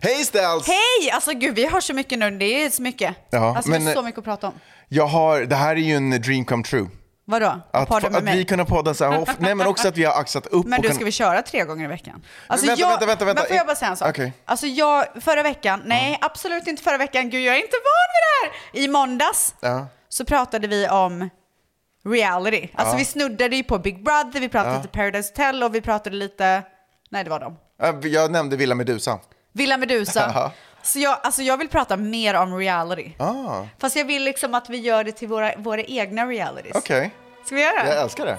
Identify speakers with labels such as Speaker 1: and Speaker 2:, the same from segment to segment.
Speaker 1: Hej Stels!
Speaker 2: Hej! Alltså gud, vi har så mycket nu. Det är så mycket.
Speaker 1: Ja,
Speaker 2: alltså, det
Speaker 1: men- eh,
Speaker 2: är så mycket att prata om.
Speaker 1: Jag har, det här är ju en dream come true.
Speaker 2: Vadå?
Speaker 1: Att,
Speaker 2: Att,
Speaker 1: få-
Speaker 2: med
Speaker 1: att
Speaker 2: mig?
Speaker 1: vi kunna podda så här ofta. Nej men också att vi har axat upp
Speaker 2: Men
Speaker 1: och
Speaker 2: du,
Speaker 1: kan-
Speaker 2: ska vi köra tre gånger i veckan? Alltså,
Speaker 1: vänta,
Speaker 2: jag...
Speaker 1: vänta, vänta, vänta.
Speaker 2: Men får jag bara säga en sak?
Speaker 1: Okej.
Speaker 2: Alltså jag, förra veckan, nej absolut inte förra veckan, gud jag är inte van vid det här! I måndags
Speaker 1: Ja.
Speaker 2: så pratade vi om reality. Alltså vi snuddade ju på Big Brother, vi pratade lite Paradise Hotel och vi pratade lite, nej det var dem,
Speaker 1: Ja, Jag nämnde Villa Medusa.
Speaker 2: Villa
Speaker 1: Ja.
Speaker 2: Medusa. Så jag, alltså jag vill prata mer om reality.
Speaker 1: Ah,
Speaker 2: Fast jag vill liksom att vi gör det till våra, våra egna realities.
Speaker 1: Okej,
Speaker 2: Ska vi göra det?
Speaker 1: jag älskar det.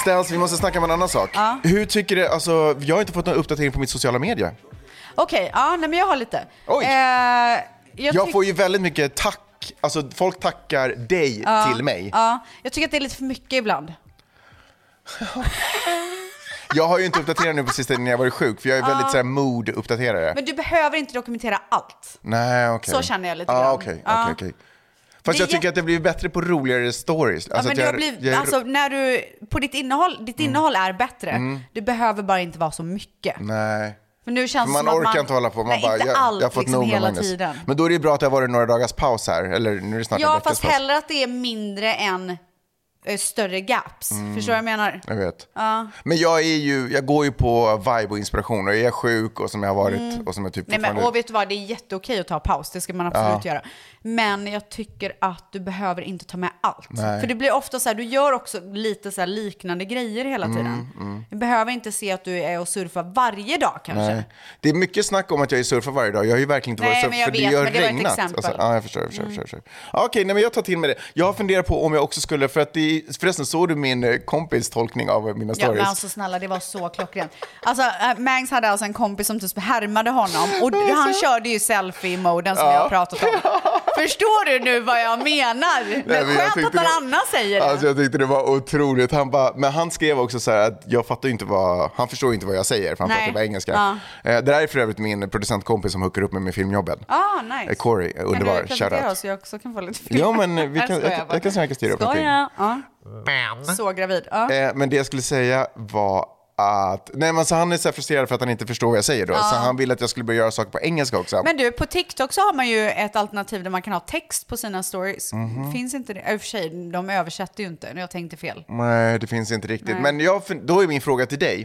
Speaker 1: Stels, vi måste snacka om en annan sak. Hur tycker du, alltså, jag har inte fått någon uppdatering på mitt sociala medier.
Speaker 2: Okej, ja, nej men jag har lite.
Speaker 1: Oj.
Speaker 2: Eh, jag
Speaker 1: Jag
Speaker 2: tyck-
Speaker 1: får ju väldigt mycket tack, alltså folk tackar dig till mig.
Speaker 2: Ja, jag tycker att det är lite för mycket ibland.
Speaker 1: Jag har ju inte uppdaterat nu på sistone när jag varit sjuk, för jag är väldigt så här, mood-uppdaterare.
Speaker 2: Men du behöver inte dokumentera allt.
Speaker 1: Nej, okej.
Speaker 2: Så känner jag lite
Speaker 1: ah,
Speaker 2: grann.
Speaker 1: okej, okej,
Speaker 2: Ja.
Speaker 1: okej. Fast
Speaker 2: Det är
Speaker 1: jag tycker
Speaker 2: jätte-
Speaker 1: att det blir bättre på roligare stories.
Speaker 2: Ja,
Speaker 1: Alltså
Speaker 2: men
Speaker 1: att
Speaker 2: du har
Speaker 1: jag- Mm.
Speaker 2: blivit,
Speaker 1: jag-
Speaker 2: alltså, när du, på ditt innehåll, ditt innehåll är bättre.
Speaker 1: Mm.
Speaker 2: Du behöver bara inte vara så mycket.
Speaker 1: Nej.
Speaker 2: För nu känns det
Speaker 1: Man
Speaker 2: Alltså som
Speaker 1: orkar
Speaker 2: att man,
Speaker 1: inte hålla på. Man
Speaker 2: nej,
Speaker 1: bara,
Speaker 2: inte
Speaker 1: jag,
Speaker 2: allt
Speaker 1: jag har fått
Speaker 2: liksom,
Speaker 1: nog med
Speaker 2: hela
Speaker 1: Magnus.
Speaker 2: tiden.
Speaker 1: Men då är det ju bra att det har varit några dagars paus här. Eller nu är det snart en
Speaker 2: ja,
Speaker 1: veckas
Speaker 2: fast
Speaker 1: paus.
Speaker 2: hellre att det är mindre än eh, större gaps.
Speaker 1: Mm.
Speaker 2: Förstår du vad jag menar?
Speaker 1: Jag vet. Men jag, är ju, jag går ju på vibe och inspiration. Och jag är sjuk och som jag har varit och som jag typ
Speaker 2: Mm. Nej, men,
Speaker 1: fortfarande...
Speaker 2: och vet du vad, det är jätteokej att ta paus, det ska man absolut göra. Men jag tycker att du behöver inte ta med allt.
Speaker 1: Nej.
Speaker 2: För det blir ofta så här, du gör också lite så här liknande grejer hela
Speaker 1: Mm,
Speaker 2: tiden. Du behöver inte se att du är och surfar varje dag kanske.
Speaker 1: Nej. Det är mycket snack om att jag är surfar varje dag. Jag har ju verkligen inte
Speaker 2: Nej,
Speaker 1: varit surf,
Speaker 2: men jag
Speaker 1: för
Speaker 2: vet,
Speaker 1: det har
Speaker 2: men det var ett
Speaker 1: regnat. Alltså,
Speaker 2: exempel. Mm.
Speaker 1: ja, jag förstår. Jag förstår, jag förstår. Okej, nej, men jag tar till mig det. Jag har funderat på om jag också skulle, för att det, förresten såg du min eh, kompis tolkning av eh, mina
Speaker 2: Ja,
Speaker 1: stories?
Speaker 2: men alltså snälla, det var så klockrent. Alltså, äh, Mangs hade alltså en kompis som typ härmade honom och han körde ju selfie-moden som jag har pratat om. Förstår du nu vad jag menar? Men
Speaker 1: Nej, men jag
Speaker 2: skönt att
Speaker 1: tyckte
Speaker 2: någon
Speaker 1: det-
Speaker 2: annan säger det.
Speaker 1: Alltså jag tyckte det var otroligt. Han bara, men han skrev också så här att jag fattar ju inte vad, han förstår ju inte vad jag säger för han
Speaker 2: Nej.
Speaker 1: pratar bara engelska.
Speaker 2: Ja.
Speaker 1: Eh, Det där är för övrigt min producentkompis som hookar upp mig med filmjobben.
Speaker 2: Ah, nice.
Speaker 1: Eh, Corey, eh, underbar.
Speaker 2: Kan du presentera
Speaker 1: Shoutout.
Speaker 2: oss så jag också kan få lite film?
Speaker 1: Ja men vi
Speaker 2: Nej,
Speaker 1: kan,
Speaker 2: skojar
Speaker 1: jag, kan-
Speaker 2: bara.
Speaker 1: jag kan se om jag kan styra upp någonting.
Speaker 2: Skoja. Ja. Så gravid. Ja.
Speaker 1: Eh, Men det jag skulle säga var att, nej men så han är så här frustrerad för att han inte förstår vad jag säger då. Så han vill att jag skulle börja göra saker på engelska också.
Speaker 2: Men du, på TikTok så har man ju ett alternativ där man kan ha text på sina stories.
Speaker 1: Mhm.
Speaker 2: Finns inte det? Ja, I och för sig, de översätter ju inte. Jag tänkte fel.
Speaker 1: Nej, det finns inte riktigt. Men jag, fun- då är min fråga till dig.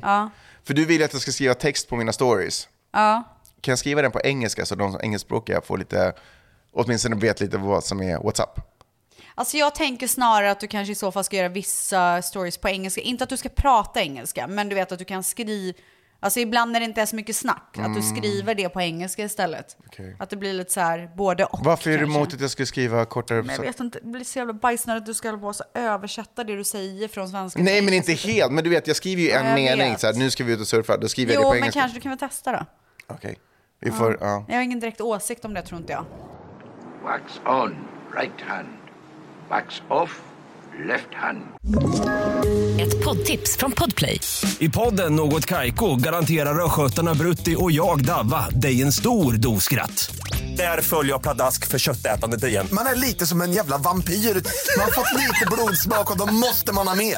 Speaker 1: För du vill att jag ska skriva text på mina stories.
Speaker 2: Ja.
Speaker 1: Kan jag skriva den på engelska så de som är engelskspråkiga får lite, åtminstone vet lite vad som är WhatsApp?
Speaker 2: Alltså jag tänker snarare att du kanske i så fall ska göra vissa stories på engelska. Inte att du ska prata engelska, men du vet att du kan skriva... Alltså ibland när det inte är så mycket snack, att du skriver det på engelska istället.
Speaker 1: Mm. Okej.
Speaker 2: Att det blir lite så här både och.
Speaker 1: Varför är du
Speaker 2: kanske.
Speaker 1: emot att jag skulle skriva kortare...
Speaker 2: Men jag vet inte, det blir så jävla bajsnödigt att du ska hålla på och så översätta det du säger från svenska.
Speaker 1: Nej, men inte helt. Men du vet, jag skriver ju en
Speaker 2: jag
Speaker 1: mening.
Speaker 2: vet.
Speaker 1: Så här, nu ska vi ut och surfa. Då skriver jag det
Speaker 2: Jo,
Speaker 1: på
Speaker 2: men
Speaker 1: engelska.
Speaker 2: kanske du kan väl testa då.
Speaker 1: Okej. Vi får... Ja.
Speaker 2: Jag har ingen direkt åsikt om det tror inte jag.
Speaker 3: Wax on, right hand. Wax off, left hand.
Speaker 4: Ett poddtips från Podplay.
Speaker 5: I podden Något Kaiko garanterar östgötarna Brutti och jag, Davva, dig en stor dos skratt. Där följer jag pladask för köttätandet igen.
Speaker 6: Man är lite som en jävla vampyr. Man har fått lite blodsmak och då måste man ha mer.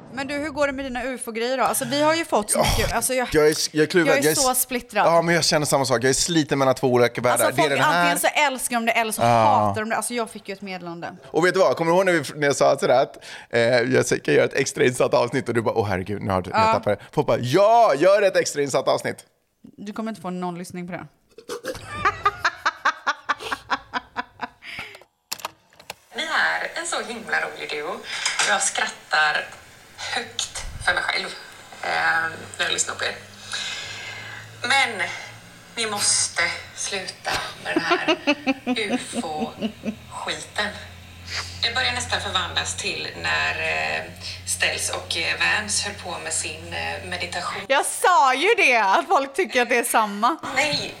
Speaker 2: Men du, hur går det med dina ufo-grejer då? Alltså vi har ju fått så mycket. Alltså, jag,
Speaker 1: Jag är, jag är kluven.
Speaker 2: Jag är så splittrad.
Speaker 1: Ja, men jag känner samma sak. Jag är sliten mellan två olika världar.
Speaker 2: alltså
Speaker 1: det är
Speaker 2: folk
Speaker 1: den här...
Speaker 2: antingen så älskar de det eller så hatar de det. Alltså jag fick ju ett meddelande.
Speaker 1: Och vet du vad, kommer du ihåg när, vi, när jag sa sådär att eh, jag ska göra ett extrainsatt avsnitt och du bara åh herregud, nu har du ja. jag tappat det. Folk bara ja, gör ett extrainsatt avsnitt.
Speaker 2: Du kommer inte få någon lyssning på det.
Speaker 7: Ni är en så himla rolig duo. Jag skrattar högt för mig själv eh, när jag lyssnar på er. Men ni måste sluta med den här ufo-skiten. Det börjar nästan förvandlas till när eh, Stels och eh, Vans höll på med sin eh, meditation.
Speaker 2: Jag sa ju det, att folk tycker att det är samma.
Speaker 7: Nej!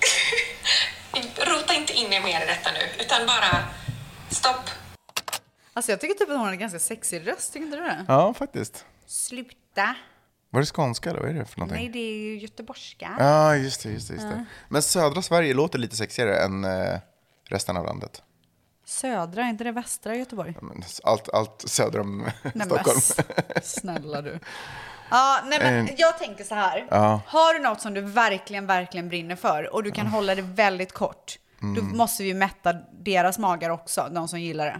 Speaker 7: Rota inte in er mer i detta nu, utan bara stopp.
Speaker 2: Alltså jag tycker typ att hon har en ganska sexig röst, tycker inte du det?
Speaker 1: Ja, faktiskt.
Speaker 2: Sluta.
Speaker 1: Var det skånska eller vad är det för någonting?
Speaker 2: Nej, det är ju göteborgska.
Speaker 1: Ja, just det. Just det, just det. Men södra Sverige låter lite sexigare än eh, resten av landet.
Speaker 2: Södra, är inte det västra Göteborg?
Speaker 1: Men Allt, allt söder om
Speaker 2: Nej, men
Speaker 1: Stockholm.
Speaker 2: s- Snälla du. Ja, nej men jag tänker så här. Har du något som du verkligen, verkligen brinner för och du
Speaker 1: Mm.
Speaker 2: kan hålla det väldigt kort, då måste vi ju mätta deras magar också, de som gillar det.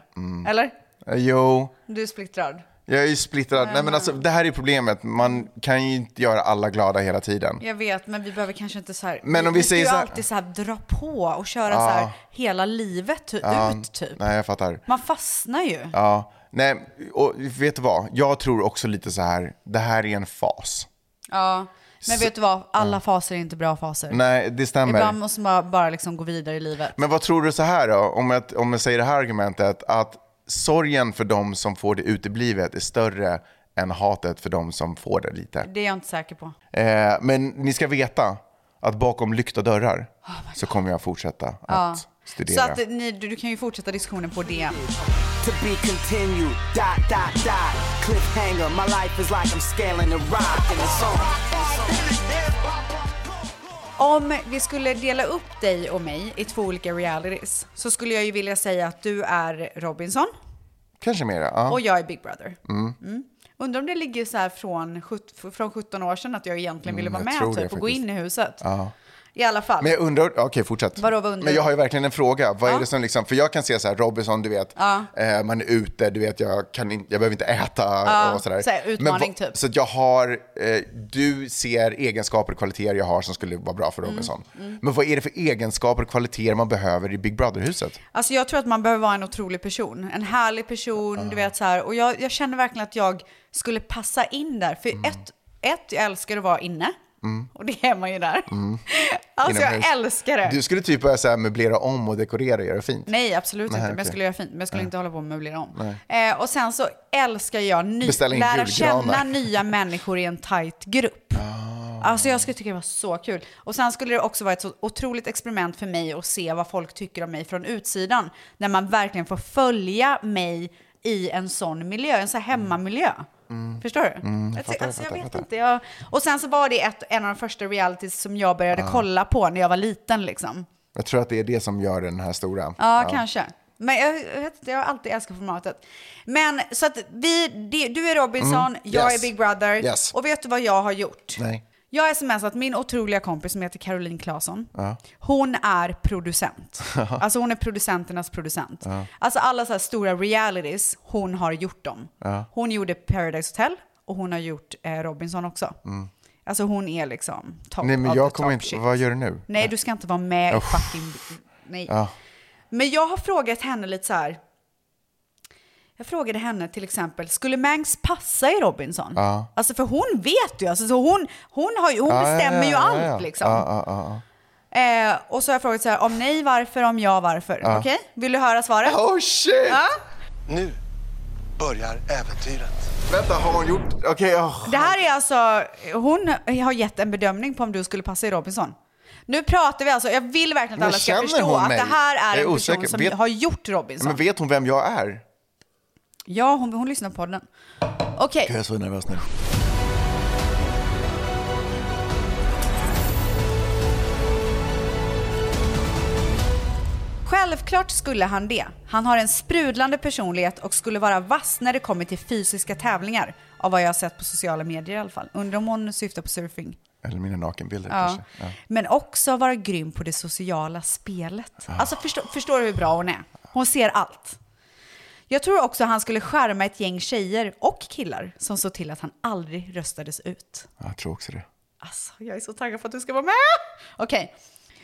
Speaker 2: Eller?
Speaker 1: Eh, Jo,
Speaker 2: Du är splittrad.
Speaker 1: jag är ju splittrad. Nej, men alltså, det här är problemet. Man kan ju inte göra alla glada hela tiden.
Speaker 2: Jag vet, men vi behöver kanske inte så här...
Speaker 1: Men om vi säger
Speaker 2: ska
Speaker 1: så
Speaker 2: ju
Speaker 1: här-
Speaker 2: alltid så här dra på och köra så här hela livet ty- ut typ.
Speaker 1: Nej, jag fattar.
Speaker 2: Man fastnar ju.
Speaker 1: Ja, nej, och vet du vad? Jag tror också lite så här, det här är en fas.
Speaker 2: Ja. Men vet du vad? Alla faser är inte bra faser.
Speaker 1: Nej, det stämmer.
Speaker 2: Ibland måste man bara liksom gå vidare i livet.
Speaker 1: Men vad tror du så här då, om jag, om jag säger det här argumentet, att sorgen för de som får det uteblivet är större än hatet för de som får det lite.
Speaker 2: Det är jag inte säker på.
Speaker 1: Eh, men ni ska veta att bakom lyckta dörrar så kommer jag fortsätta att studera.
Speaker 2: Oh Så att ni, du, du kan ju fortsätta diskussionen på DM.
Speaker 8: To be continued. Dot, dot, dot. Cliffhanger. My life is like I'm scaling a rock in the
Speaker 2: Om vi skulle dela upp dig och mig i två olika realities så skulle jag ju vilja säga att du är Robinson
Speaker 1: Kanske mera, ja.
Speaker 2: och jag är Big Brother. Mm. Undrar om det ligger så här från, sjut- från 17 år sedan att jag egentligen ville vara
Speaker 1: Mm, jag
Speaker 2: med
Speaker 1: tror det
Speaker 2: typ, och gå
Speaker 1: faktiskt.
Speaker 2: in i huset. I alla fall.
Speaker 1: Men jag undrar, okej fortsätt.
Speaker 2: Vadå, vad undrar
Speaker 1: Men jag
Speaker 2: du?
Speaker 1: har ju verkligen en fråga. Vad är det som liksom, för jag kan se så här, Robinson, du vet, eh, man är ute, du vet, jag, kan in, jag behöver inte äta och sådär.
Speaker 2: så här, utmaning
Speaker 1: vad-
Speaker 2: typ.
Speaker 1: Så att jag har, eh, du ser egenskaper och kvaliteter jag har som skulle vara bra
Speaker 2: Mm,
Speaker 1: för Robinson. Men vad är det för egenskaper och kvaliteter man behöver i Big Brother-huset?
Speaker 2: Alltså jag tror att man behöver vara en otrolig person. En härlig person, du vet så här. Och jag, jag känner verkligen att jag skulle passa in där. För
Speaker 1: Mm.
Speaker 2: ett, ett, jag älskar att vara inne. Och det är man ju där. Alltså
Speaker 1: Mm. Inomhus.
Speaker 2: jag älskar det.
Speaker 1: Du skulle typ börja så här, möblera om och dekorera och göra fint.
Speaker 2: Nej, absolut inte. Men jag
Speaker 1: okej.
Speaker 2: skulle göra fint. Men jag skulle inte hålla på och möblera om. Eh, och sen så älskar jag ny-
Speaker 1: Beställa in
Speaker 2: lära
Speaker 1: julgranar. Ah.
Speaker 2: känna nya människor i en tight grupp. Alltså jag skulle tycka det var så kul. Och sen skulle det också vara ett så otroligt experiment för mig att se vad folk tycker om mig från utsidan. När man verkligen får följa mig i en sån miljö, en sån här
Speaker 1: Mm.
Speaker 2: hemmamiljö. Förstår du? jag, ty- alltså, jag vet inte. Jag... Och sen så var det ett, en av de första realities som jag började
Speaker 1: Ah.
Speaker 2: kolla på när jag var liten liksom.
Speaker 1: Jag tror att det är det som gör den här stora.
Speaker 2: Ja, kanske. Men jag, jag vet inte, jag har alltid älskat formatet. Men så att vi, det- du är Robinson, jag
Speaker 1: Mm. Yes.
Speaker 2: är Big Brother.
Speaker 1: Yes.
Speaker 2: Och vet du vad jag har gjort?
Speaker 1: Nej.
Speaker 2: Jag har smsat min otroliga kompis som heter Caroline Claesson. Hon är producent. Alltså hon är producenternas producent. Alltså alla så här stora realities, hon har gjort dem. Hon gjorde Paradise Hotel och hon har gjort eh, Robinson också. Alltså hon är liksom top
Speaker 1: Mm. Nej, men
Speaker 2: of
Speaker 1: jag
Speaker 2: the
Speaker 1: kommer
Speaker 2: top
Speaker 1: inte,
Speaker 2: shit.
Speaker 1: vad gör du nu?
Speaker 2: Nej, du ska inte vara med i fucking... Nej. Men jag har frågat henne lite så här. Jag frågade henne till exempel, skulle Mangs passa i Robinson? Alltså för hon vet ju, alltså, så hon, hon, har ju, hon
Speaker 1: Ja, ja,
Speaker 2: bestämmer ju
Speaker 1: ja,
Speaker 2: allt
Speaker 1: ja, ja.
Speaker 2: liksom.
Speaker 1: Ja, ja, ja, ja.
Speaker 2: Eh, och så har jag frågat så här, om nej varför, om ja varför. Okej, vill du höra svaret?
Speaker 1: Oh shit!
Speaker 2: Ja.
Speaker 9: Nu börjar äventyret.
Speaker 1: Vänta, har hon gjort... Okej, åh.
Speaker 2: Det här är alltså, hon har gett en bedömning på om du skulle passa i Robinson. Nu pratar vi alltså, jag vill verkligen
Speaker 1: Men
Speaker 2: att alla ska
Speaker 1: känner
Speaker 2: förstå
Speaker 1: hon
Speaker 2: att
Speaker 1: mig?
Speaker 2: det här
Speaker 1: Jag
Speaker 2: är,
Speaker 1: är
Speaker 2: en person
Speaker 1: osäker.
Speaker 2: som
Speaker 1: Vet-
Speaker 2: har gjort Robinson.
Speaker 1: Men vet hon vem jag är?
Speaker 2: Ja, hon, hon lyssnar på den. Okej,
Speaker 1: är så nervös nu.
Speaker 2: självklart skulle han det. Han har en sprudlande personlighet och skulle vara vass när det kommer till fysiska tävlingar. Av vad jag har sett på sociala medier i alla fall. Undrar om hon syftar på surfing.
Speaker 1: Eller mina nakenbilder
Speaker 2: Ja.
Speaker 1: kanske. Ja.
Speaker 2: Men också vara grym på det sociala spelet. Alltså förstå, förstår du hur bra hon är? Hon ser allt. Jag tror också han skulle skärma ett gäng tjejer och killar som såg till att han aldrig röstades ut.
Speaker 1: Jag tror också det.
Speaker 2: Alltså, jag är så taggad på att du ska vara med! Okej.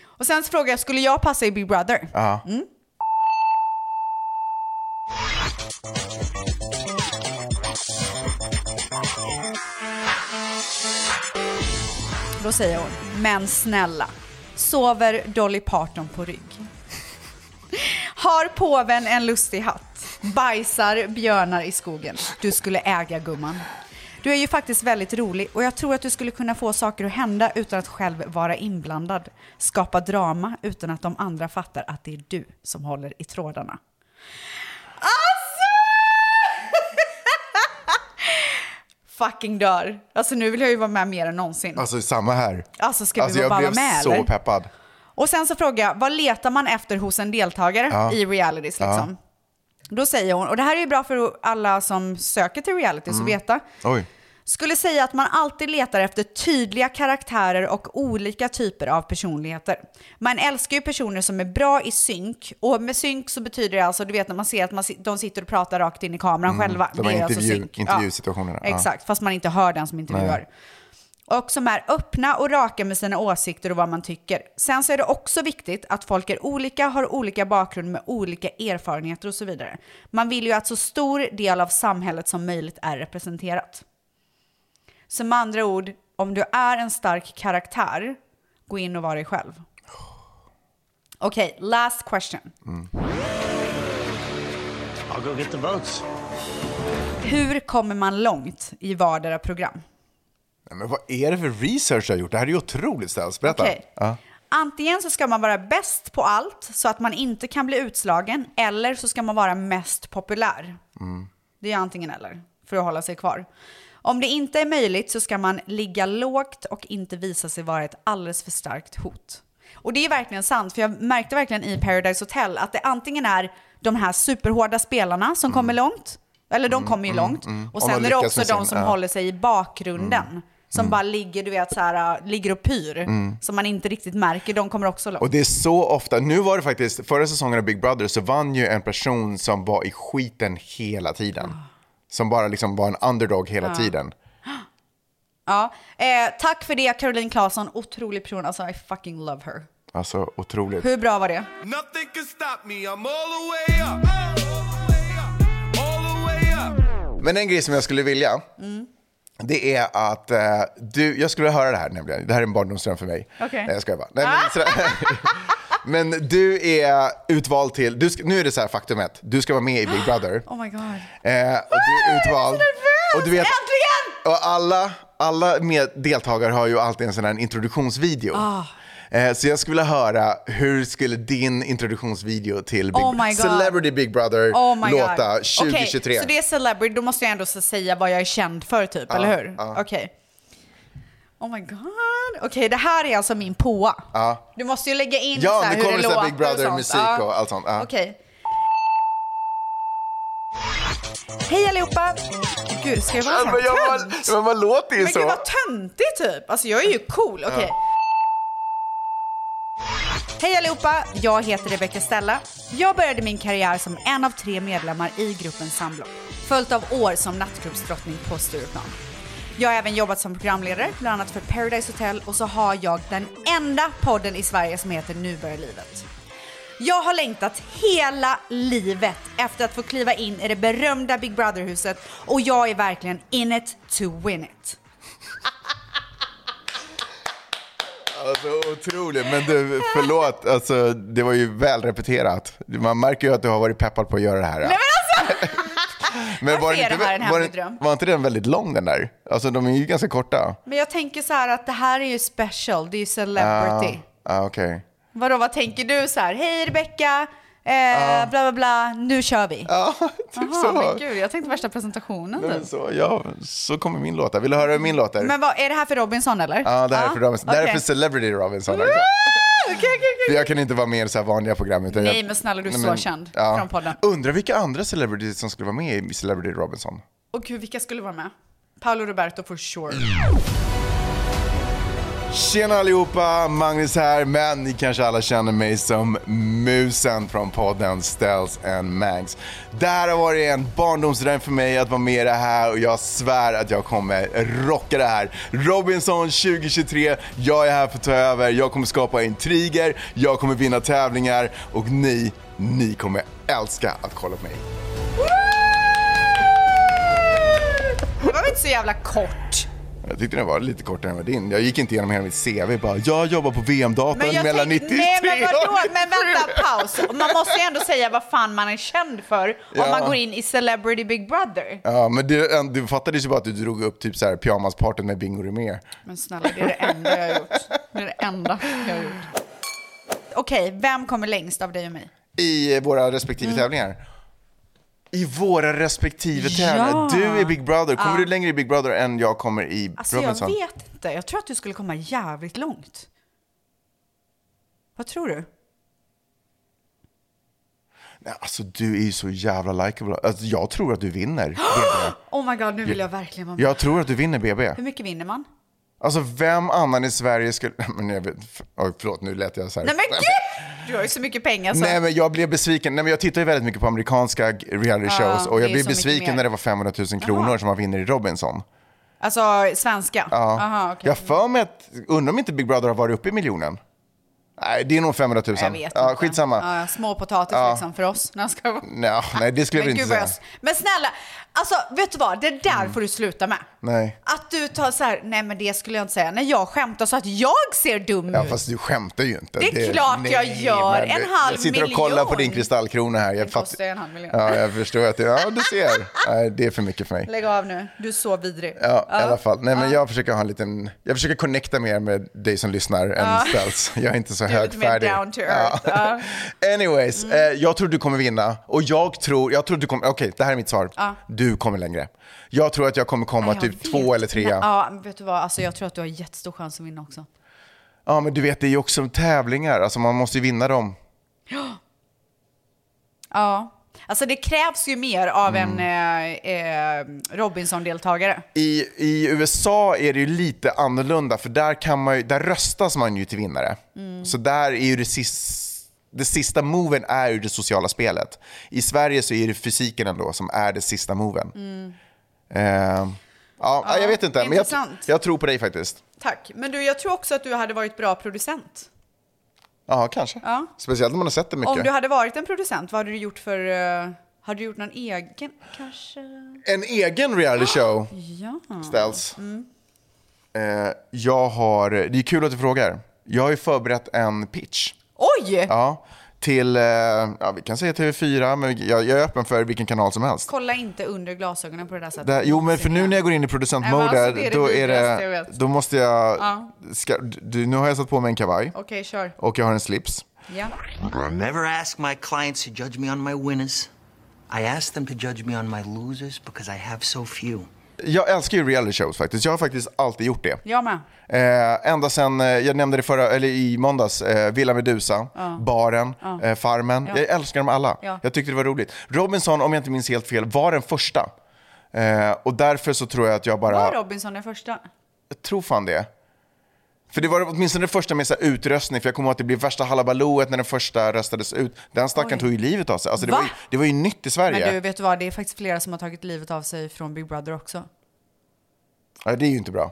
Speaker 2: Och sen så frågade jag, skulle jag passa i Big Brother?
Speaker 1: Ja.
Speaker 2: Då säger hon, men snälla, sover Dolly Parton på rygg? Har påven en lustig hatt? Bajsar björnar i skogen? Du skulle äga gumman. Du är ju faktiskt väldigt rolig och jag tror att du skulle kunna få saker att hända utan att själv vara inblandad. Skapa drama utan att de andra fattar att det är du som håller i trådarna. Alltså! fucking dör. Alltså nu vill jag ju vara med mer än någonsin.
Speaker 1: Alltså samma här.
Speaker 2: Alltså, ska vi
Speaker 1: alltså, jag
Speaker 2: bara
Speaker 1: blev
Speaker 2: vara med,
Speaker 1: så
Speaker 2: eller?
Speaker 1: peppad.
Speaker 2: Och sen så frågar jag, vad letar man efter hos en deltagare i realities liksom? Då säger hon, och det här är ju bra för alla som söker till realities
Speaker 1: Mm.
Speaker 2: att veta.
Speaker 1: Oj.
Speaker 2: Skulle säga att man alltid letar efter tydliga karaktärer och olika typer av personligheter. Man älskar ju personer som är bra i synk. Och med synk så betyder det alltså, du vet när man ser att man, si- de sitter och pratar rakt in i kameran själva.
Speaker 1: Mm. de här
Speaker 2: det är alltså
Speaker 1: intervju-
Speaker 2: synk.
Speaker 1: intervjusituationerna, ja.
Speaker 2: Exakt, fast man inte hör den som intervjuar. Och som är öppna och raka med sina åsikter och vad man tycker. Sen så är det också viktigt att folk är olika, har olika bakgrund med olika erfarenheter och så vidare. Man vill ju att så stor del av samhället som möjligt är representerat. Så med andra ord, om du är en stark karaktär, gå in och var dig själv. Okej, last question.
Speaker 9: I'll go get the votes.
Speaker 2: Hur kommer man långt i vardera program?
Speaker 1: Nej, men vad är det för research du har gjort? Det här är ju otroligt ställs. Berätta.
Speaker 2: Okej. Antingen så ska man vara bäst på allt så att man inte kan bli utslagen eller så ska man vara mest populär.
Speaker 1: Mm.
Speaker 2: Det är antingen eller för att hålla sig kvar. Om det inte är möjligt så ska man ligga lågt och inte visa sig vara ett alldeles för starkt hot. Och det är verkligen sant, för jag märkte verkligen i Paradise Hotel att det antingen är de här superhårda spelarna
Speaker 1: Mm.
Speaker 2: som kommer långt, eller de kommer ju långt, och
Speaker 1: Om
Speaker 2: sen
Speaker 1: de
Speaker 2: är det
Speaker 1: lyckas
Speaker 2: också
Speaker 1: med
Speaker 2: de
Speaker 1: sin-
Speaker 2: som
Speaker 1: ja.
Speaker 2: håller sig i bakgrunden.
Speaker 1: Mm.
Speaker 2: Som bara ligger, du vet, så här, äh, ligger och pyr. Som man inte riktigt märker, de kommer också långt.
Speaker 1: Och det är så ofta, nu var det faktiskt, förra säsongen av Big Brother så vann ju en person som var i skiten hela tiden.
Speaker 2: Ah.
Speaker 1: Som bara liksom var en underdog hela tiden.
Speaker 2: Ja. Eh, tack för det Caroline Claesson, otrolig person. Alltså I fucking love her.
Speaker 1: Alltså otroligt.
Speaker 2: Hur bra var det?
Speaker 9: Nothing can stop me. I'm all the way up. All the way up.
Speaker 1: Men en grej som jag skulle vilja,
Speaker 2: Mm.
Speaker 1: det är att eh, du, jag skulle vilja höra det här nämligen. Det här är en barndomsdröm för mig.
Speaker 2: Okej. Ah!
Speaker 1: Nej, jag skojar bara. Nej, men, sådär- men du är utvald till, du ska, nu är det så här faktumet, du ska vara med i Big Brother.
Speaker 2: Oh my god.
Speaker 1: Eh, och du är utvald.
Speaker 2: nervös!
Speaker 1: Och du vet,
Speaker 2: Äntligen!
Speaker 1: och alla, alla med deltagare har ju alltid en sån här introduktionsvideo.
Speaker 2: Ah.
Speaker 1: Eh, Så jag skulle vilja höra, hur skulle din introduktionsvideo till Big
Speaker 2: Oh my God.
Speaker 1: Celebrity Big Brother
Speaker 2: Oh my
Speaker 1: låta
Speaker 2: god. Okej,
Speaker 1: 2023?
Speaker 2: så det är celebrity, då måste jag ändå så säga vad jag är känd för typ, eller hur? Okej. Oh my god. Okej, det här är alltså min påa. Du måste ju lägga in
Speaker 1: Ja,
Speaker 2: så här,
Speaker 1: nu
Speaker 2: hur
Speaker 1: kommer
Speaker 2: det
Speaker 1: det så
Speaker 2: låter
Speaker 1: här Big
Speaker 2: och sånt.
Speaker 1: Brother-musik
Speaker 2: Ja.
Speaker 1: och allt sånt. Ja.
Speaker 2: Okej. Hej allihopa! Gud, ska jag vara
Speaker 1: Ja,
Speaker 2: sån
Speaker 1: Men, jag var,
Speaker 2: tönt?
Speaker 1: men man låter ju
Speaker 2: Men
Speaker 1: så.
Speaker 2: gud vad töntig typ. Alltså jag är ju cool. Okej. Hej allihopa, jag heter Rebecca Stella. Jag började min karriär som en av tre medlemmar i gruppen Sandblock, följt av år som nattklubbsdrottning på Stureplan. Jag har även jobbat som programledare, bland annat för Paradise Hotel och så har jag den enda podden i Sverige som heter Nu börjar livet. Jag har längtat hela livet efter att få kliva in i det berömda Big Brother-huset och jag är verkligen in it to win it.
Speaker 1: Alltså, otroligt. Men du, förlåt. Alltså, det var ju väl repeterat. Man märker ju att du har varit peppad på att göra det här.
Speaker 2: Nej men alltså!
Speaker 1: men
Speaker 2: varför är det här en
Speaker 1: var,
Speaker 2: hemlig dröm?
Speaker 1: var inte den väldigt lång den där? Alltså de är ju ganska korta.
Speaker 2: Men jag tänker så här att det här är ju special, det är ju celebrity.
Speaker 1: Ah, Okej.
Speaker 2: Vadå, vad tänker du så här? Hej Rebecca, eh, bla bla bla, nu kör vi.
Speaker 1: Ja, typ
Speaker 2: Jaha,
Speaker 1: så.
Speaker 2: men gud, jag tänkte värsta presentationen
Speaker 1: Nej, men
Speaker 2: typ.
Speaker 1: så, ja, så kommer min låt. där. Vill du höra hur min låt är?
Speaker 2: Men vad, är det här för Robinson eller?
Speaker 1: Ja, det här är för Robinson. Det här är för
Speaker 2: okej.
Speaker 1: Celebrity Robinson.
Speaker 2: Woo!
Speaker 1: också.
Speaker 2: Okej, okej, okej.
Speaker 1: För Jag kan inte vara med i så här vanliga program. Utan
Speaker 2: Nej,
Speaker 1: jag,
Speaker 2: men snälla, du är
Speaker 1: Nej,
Speaker 2: så känd från podden.
Speaker 1: Undrar vilka andra celebrities som skulle vara med i Celebrity Robinson.
Speaker 2: Och gud, vilka skulle vara med? Paolo Roberto for sure.
Speaker 1: Tjena allihopa, Magnus här, men ni kanske alla känner mig som musen från podden Stells and Mags. Det här har varit en barndomsdröm för mig att vara med i det här och jag svär att jag kommer rocka det här. Robinson 2023, jag är här för att ta över, jag kommer skapa intriger, jag kommer vinna tävlingar och ni, ni kommer älska att kolla på mig.
Speaker 2: Det var väl inte så jävla kort?
Speaker 1: Jag tyckte den var lite kortare än vad din. Jag gick inte igenom hela mitt CV bara, jag jobbar på VM-datorn mellan 93
Speaker 2: nej men
Speaker 1: och
Speaker 2: vadå, men vänta, paus. Man måste ju ändå säga vad fan man är känd för om
Speaker 1: Ja.
Speaker 2: man går in i Celebrity Big Brother.
Speaker 1: Ja, men det, du fattade ju bara att du drog upp typ så här pyjamasparten med Bingo Rimér.
Speaker 2: Men snälla, det är det enda jag har gjort. Det är det enda jag har gjort. Okej, vem kommer längst av dig och mig? Mm.
Speaker 1: I våra respektive eh, tävlingar. I våra respektive tävlingar. Du är Big Brother. Kommer du längre i Big Brother än jag kommer i
Speaker 2: Alltså
Speaker 1: Robinson?
Speaker 2: jag vet inte. Jag tror att du skulle komma jävligt långt. Vad tror du?
Speaker 1: Nej, alltså du är ju så jävla likable. Alltså, jag tror att du vinner BB.
Speaker 2: Oh my god, nu vill jag verkligen vara med.
Speaker 1: Jag tror att du vinner BB.
Speaker 2: Hur mycket vinner man?
Speaker 1: Alltså vem annan i Sverige skulle... Men jag vet... Oj, förlåt, nu lät jag så här.
Speaker 2: Nej men gud! Du har ju så mycket pengar så.
Speaker 1: Nej men jag blev besviken. Nej men jag tittar ju väldigt mycket på amerikanska g- reality shows och
Speaker 2: det
Speaker 1: jag
Speaker 2: är
Speaker 1: blev
Speaker 2: så mycket
Speaker 1: besviken
Speaker 2: mer.
Speaker 1: när det var 500 000 kronor som man vinner i Robinson.
Speaker 2: Alltså svenska? Ja. Aha, okej.
Speaker 1: Jag för mig att, undrar om inte Big Brother har varit uppe i miljonen? Nej, det är nog 500 000.
Speaker 2: Jag vet
Speaker 1: ja,
Speaker 2: inte.
Speaker 1: Skitsamma.
Speaker 2: Ja, småpotatis liksom för oss. När jag ska vara.
Speaker 1: Nej, nej, det skulle jag
Speaker 2: Men
Speaker 1: inte
Speaker 2: gud vad
Speaker 1: säga. Mm.
Speaker 2: jag... Men snälla, alltså vet du vad? Det där får du sluta med.
Speaker 1: Nej.
Speaker 2: Att du tar så här, nej men det skulle jag inte säga. När jag skämtar så att jag ser dum
Speaker 1: Ja,
Speaker 2: ut.
Speaker 1: fast du skämtar ju inte.
Speaker 2: Det är klart jag gör.
Speaker 1: men
Speaker 2: En
Speaker 1: det-
Speaker 2: halv
Speaker 1: Jag sitter och kollar på
Speaker 2: miljon.
Speaker 1: din kristallkrona här. Jag
Speaker 2: Det kostar ju en halv miljon.
Speaker 1: Ja, jag förstår att det, ja du ser. Nej, det är för mycket för mig.
Speaker 2: Lägg av nu, du är så vidrig.
Speaker 1: Ja, i alla fall. Nej, men jag försöker ha en liten, jag försöker connecta mer med dig som lyssnar än ställs. Jag är inte så
Speaker 2: är lite mer
Speaker 1: högfärdig.
Speaker 2: down to earth. Ja. Mm.
Speaker 1: Anyways, eh, jag tror du kommer vinna och jag tror, jag tror du kommer, okej det här är mitt svar. Du kommer längre. Jag tror att jag kommer komma
Speaker 2: Jag
Speaker 1: typ
Speaker 2: vet,
Speaker 1: två eller trea.
Speaker 2: Men, ja, men vet du vad? Alltså, jag tror att du har jättestor chans att vinna också.
Speaker 1: Ja men du vet det är ju också tävlingar, alltså man måste ju vinna dem.
Speaker 2: Ja. Alltså det krävs ju mer av
Speaker 1: Mm.
Speaker 2: en eh, eh, Robinson-deltagare.
Speaker 1: I, I USA är det ju lite annorlunda för där, kan man ju, där röstas man ju till vinnare. Så där är ju det sista, det sista moven är ju det sociala spelet. I Sverige så är det fysiken ändå som är det sista moven. Eh, ja, jag vet inte, men jag,
Speaker 2: intressant.
Speaker 1: jag tror på dig faktiskt.
Speaker 2: Tack. Men du, jag tror också att du hade varit bra producent.
Speaker 1: Ja, kanske. Speciellt om man har sett det mycket.
Speaker 2: Om du hade varit en producent, vad hade du gjort för... eh, hade du gjort någon egen kanske?
Speaker 1: En egen reality show
Speaker 2: Ja.
Speaker 1: ställs. Eh, jag har, det är kul att du frågar. Jag har ju förberett en pitch.
Speaker 2: Oj!
Speaker 1: Ja, till, eh, ja vi kan säga TV4, men jag, jag är öppen för vilken kanal som helst.
Speaker 2: Kolla inte under glasögonen på det där sättet.
Speaker 1: Där, jo men för nu när jag går in i
Speaker 2: Nej, men
Speaker 1: producentmode,
Speaker 2: alltså, det är det
Speaker 1: då, är
Speaker 2: vidrigaste jag
Speaker 1: det,
Speaker 2: vet.
Speaker 1: då måste jag, ska, du, nu har jag satt på mig en kavaj
Speaker 2: Okej, kör.
Speaker 1: och jag har en slips.
Speaker 2: Ja.
Speaker 9: I never ask my clients to judge me on my winners. I ask them to judge me on my losers because I have so few.
Speaker 1: Jag älskar ju reality shows faktiskt, jag har faktiskt alltid gjort det.
Speaker 2: Jag med.
Speaker 1: Eh, ända sen, eh, jag nämnde det förra, eller i måndags, eh, Villa Medusa, Baren, eh, Farmen. Jag älskar dem alla.
Speaker 2: Ja.
Speaker 1: Jag tyckte det var roligt. Robinson, om jag inte minns helt fel, var den första. Eh, och därför så tror jag att jag bara...
Speaker 2: Var Robinson den första?
Speaker 1: Jag tror fan det. För det var åtminstone det första med så här utröstning, för jag kommer ihåg att det blev värsta halabalooet när den första röstades ut. Den stackaren
Speaker 2: Oj.
Speaker 1: tog ju livet av sig. Alltså det,
Speaker 2: Va?
Speaker 1: var ju, det var ju nytt i Sverige.
Speaker 2: Men du, vet du vad? Det är faktiskt flera som har tagit livet av sig från Big Brother också.
Speaker 1: Ja, det är ju inte bra.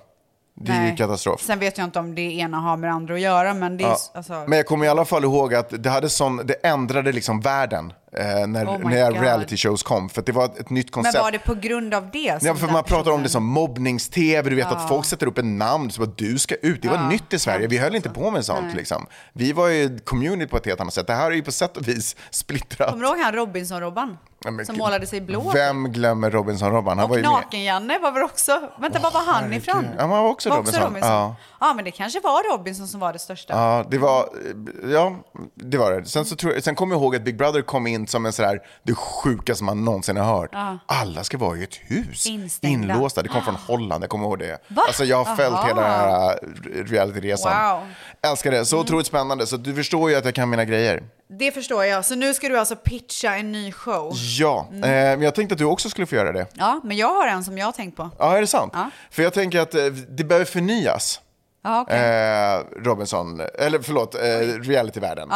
Speaker 1: Det är ju
Speaker 2: Nej.
Speaker 1: katastrof.
Speaker 2: Sen vet jag inte om det ena har med det andra att göra, men det är...
Speaker 1: Ja.
Speaker 2: s- Alltså,
Speaker 1: Men jag kommer i alla fall ihåg att det, hade sån, det ändrade liksom världen eh, när,
Speaker 2: Oh my
Speaker 1: när
Speaker 2: God.
Speaker 1: reality shows kom. För att det var ett nytt
Speaker 2: men
Speaker 1: koncept.
Speaker 2: var det på grund av det? som
Speaker 1: Ja, för
Speaker 2: den
Speaker 1: man pratar om
Speaker 2: personen-
Speaker 1: det som mobbnings-tv, du vet att folk sätter upp en namn som att du ska ut. Det var nytt i Sverige, vi höll inte
Speaker 2: alltså.
Speaker 1: på med sånt. Liksom. Vi var ju community på ett helt annat sätt. Det här är ju på sätt och vis splittrat.
Speaker 2: Kommer du ihåg han Robinson-Robban?
Speaker 1: Ja, men
Speaker 2: Som
Speaker 1: gud.
Speaker 2: målade sig blå? typ.
Speaker 1: Vem glömmer Robinson-Robban? Han var
Speaker 2: Och
Speaker 1: ju med.
Speaker 2: Naken-Janne var väl också... Vänta, var var han
Speaker 1: herregud.
Speaker 2: ifrån?
Speaker 1: Ja, men han var också Robinson. Ja.
Speaker 2: Ja. men det kanske var Robinson som var det största.
Speaker 1: Ja, det var, eh, ja, det var det. Sen, så tror jag, sen kommer jag ihåg att Big Brother kom in som en sådär, det sjukaste man någonsin har hört. Alla ska vara i ett hus,
Speaker 2: Instängda. Ah.
Speaker 1: inlåsta. Det kom från Holland, jag kommer ihåg det.
Speaker 2: Va?
Speaker 1: Alltså jag har följt
Speaker 2: Aha.
Speaker 1: hela den här eh, realityresan.
Speaker 2: Wow. Mm.
Speaker 1: Älskar det, så otroligt spännande. Så du förstår ju att jag kan mina grejer.
Speaker 2: Det förstår jag. Så nu ska du alltså pitcha en ny show.
Speaker 1: Ja,
Speaker 2: Mm.
Speaker 1: eh, men jag tänkte att du också skulle få göra det.
Speaker 2: Ja, men jag har en som jag har tänkt på.
Speaker 1: Ja, är det sant? För jag tänker att eh, det behöver förnyas.
Speaker 2: Ja, okej.
Speaker 1: eh, Robinson, eller förlåt, eh, realityvärlden.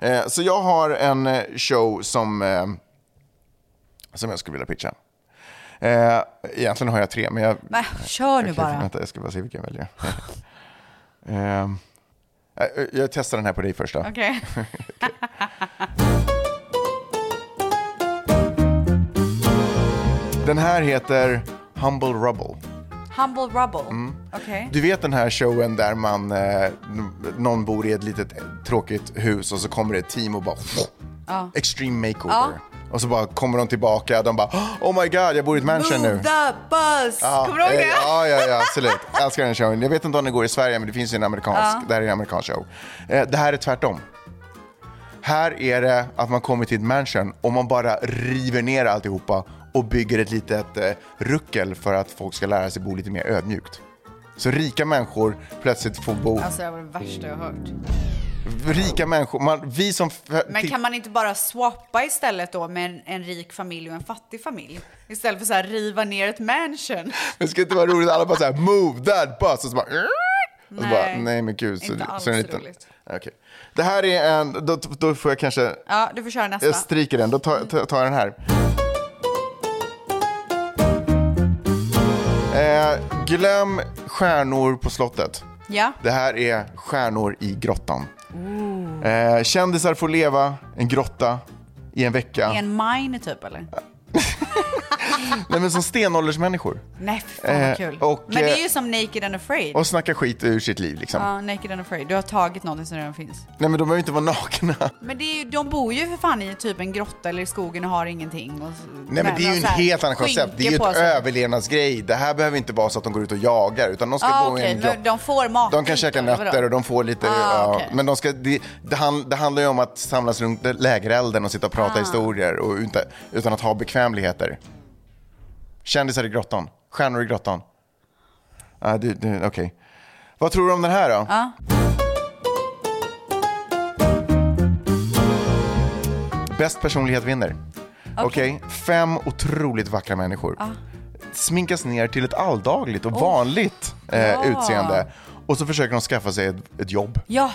Speaker 1: Eh, så jag har en eh, show som, eh, som jag skulle vilja pitcha. Eh, egentligen har jag tre, men jag...
Speaker 2: Men kör nu
Speaker 1: Okej,
Speaker 2: bara.
Speaker 1: Vänta, jag ska bara se vilken jag väljer. eh, eh, jag testar den här på dig först då.
Speaker 2: Okej.
Speaker 1: Den här heter Humble Rubble.
Speaker 2: Humble Rubble. Okej.
Speaker 1: Mm. Du vet den här showen där man, eh, n- någon bor i ett litet eh, tråkigt hus och så kommer det ett team och bara extreme makeover. Och så bara kommer de tillbaka, de bara oh my god jag bor i ett mansion nu.
Speaker 2: Move the bus! Kommer du ihåg
Speaker 1: eh,
Speaker 2: det?
Speaker 1: Ja, ja, ja, absolut. Jag älskar den showen. Jag vet inte om den går i Sverige men det finns ju en amerikansk, det här är en amerikansk show. Eh, det här är tvärtom. Här är det att man kommer till ett mansion och man bara river ner alltihopa och bygger ett litet eh, ruckel för att folk ska lära sig bo lite mer ödmjukt. Så rika människor plötsligt får bo...
Speaker 2: Alltså det var det värsta jag har hört.
Speaker 1: Rika människor, man, vi som... f-
Speaker 2: Men kan man inte bara swappa istället då med en, en rik familj och en fattig familj? Istället för så här riva ner ett mansion.
Speaker 1: Det ska inte vara roligt, alla bara såhär move that bus och så bara... Nej, och så bara,
Speaker 2: Nej,
Speaker 1: nej men gud. Så,
Speaker 2: inte
Speaker 1: så är det
Speaker 2: alls
Speaker 1: inte-
Speaker 2: roligt.
Speaker 1: Okej. Det här är en, då, då får jag kanske,
Speaker 2: Ja, du får köra nästa.
Speaker 1: jag stryker den, då tar,
Speaker 2: Mm.
Speaker 1: tar tar jag den här. Eh, glöm stjärnor på slottet.
Speaker 2: Ja.
Speaker 1: Det här är stjärnor i grottan. Eh, kändisar får leva i en grotta i en vecka.
Speaker 2: I en mine typ eller?
Speaker 1: Nej men som stenåldersmänniskor.
Speaker 2: Nej, fy fan
Speaker 1: Eh,
Speaker 2: vad kul.
Speaker 1: och,
Speaker 2: Men det
Speaker 1: eh,
Speaker 2: är ju som Naked and Afraid.
Speaker 1: Och snacka skit ur sitt liv liksom.
Speaker 2: Ja, Naked and Afraid. Du har tagit någonting som redan finns.
Speaker 1: Nej men de behöver inte vara nakna.
Speaker 2: Men det är ju, de bor ju för fan i typ en grotta eller i skogen och har ingenting. Och,
Speaker 1: Nej men det är ju en helt annan koncept. Det är ju ett överlevnadsgrej. Det här behöver inte vara så att de går ut och jagar utan de ska
Speaker 2: Ah,
Speaker 1: bo i
Speaker 2: okej,
Speaker 1: en grott.
Speaker 2: men de får mat.
Speaker 1: De kan käka
Speaker 2: Eller vadå?
Speaker 1: nötter och de får lite,
Speaker 2: Ah,
Speaker 1: ja,
Speaker 2: okej.
Speaker 1: men de ska, det, det, hand, det handlar ju om att samlas runt lägerelden och sitta och
Speaker 2: Ah.
Speaker 1: prata historier och utan, utan att ha bekvämligheter. Kändisar i grottan, stjärnor i grottan. Ah, du, du, Okej. Vad tror du om den här då? Bäst personlighet vinner. Okej, fem otroligt vackra människor. Sminkas ner till ett alldagligt och vanligt eh, utseende. Och så försöker de skaffa sig ett, ett jobb.
Speaker 2: Ja,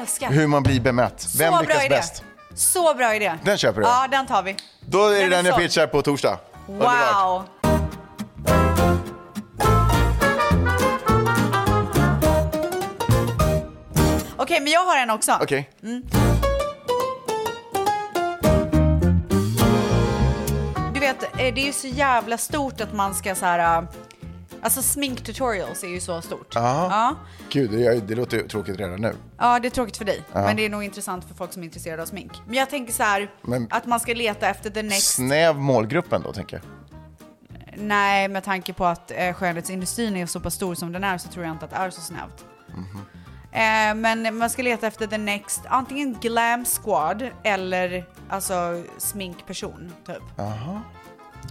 Speaker 2: älskar.
Speaker 1: Hur man blir bemött. Vem
Speaker 2: Så bra
Speaker 1: lyckas
Speaker 2: idé.
Speaker 1: bäst?
Speaker 2: Så bra idé.
Speaker 1: Den köper du?
Speaker 2: Ja, den tar vi.
Speaker 1: Då är det den,
Speaker 2: Den är
Speaker 1: jag
Speaker 2: såld.
Speaker 1: pitchar på torsdag. Underbart.
Speaker 2: Wow. Okej, men jag har en också.
Speaker 1: Okej.
Speaker 2: Mm. Du vet, eh, det är ju så jävla stort att man ska så här... eh, Alltså sminktutorials är ju så stort. Ja.
Speaker 1: Gud, det, jag- det låter ju tråkigt redan nu.
Speaker 2: ja, det är tråkigt för dig. Men det är nog intressant för folk som är intresserade av smink. Men jag tänker så här,
Speaker 1: Men-
Speaker 2: att man ska leta efter the next...
Speaker 1: Snäv målgrupp ändå, tänker jag.
Speaker 2: Nej, med tanke på att eh, skönhetsindustrin är så pass stor som den är så tror jag inte att det är så snävt. Eh, men man ska leta efter the next, antingen glam squad eller alltså sminkperson typ.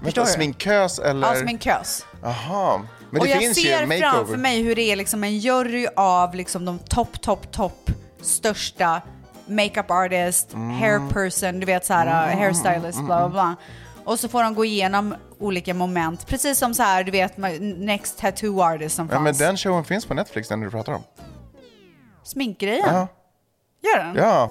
Speaker 1: Vänta,
Speaker 2: du?
Speaker 1: sminkös eller?
Speaker 2: Ja, sminkös.
Speaker 1: Aha. Men
Speaker 2: Och
Speaker 1: det
Speaker 2: jag
Speaker 1: finns ju
Speaker 2: ser
Speaker 1: en makeover.
Speaker 2: framför mig hur det är liksom en jury av liksom de topp, topp, topp största makeup artist,
Speaker 1: Mm.
Speaker 2: hair person, du vet så här uh, hairstylist, bla bla bla. Och så får de gå igenom olika moment, precis som så här du vet med next tattoo artist som
Speaker 1: Ja, men
Speaker 2: fanns.
Speaker 1: den showen finns på Netflix, den du pratar om.
Speaker 2: Sminkgrejen.
Speaker 1: Ja.
Speaker 2: Gör den?
Speaker 1: Ja.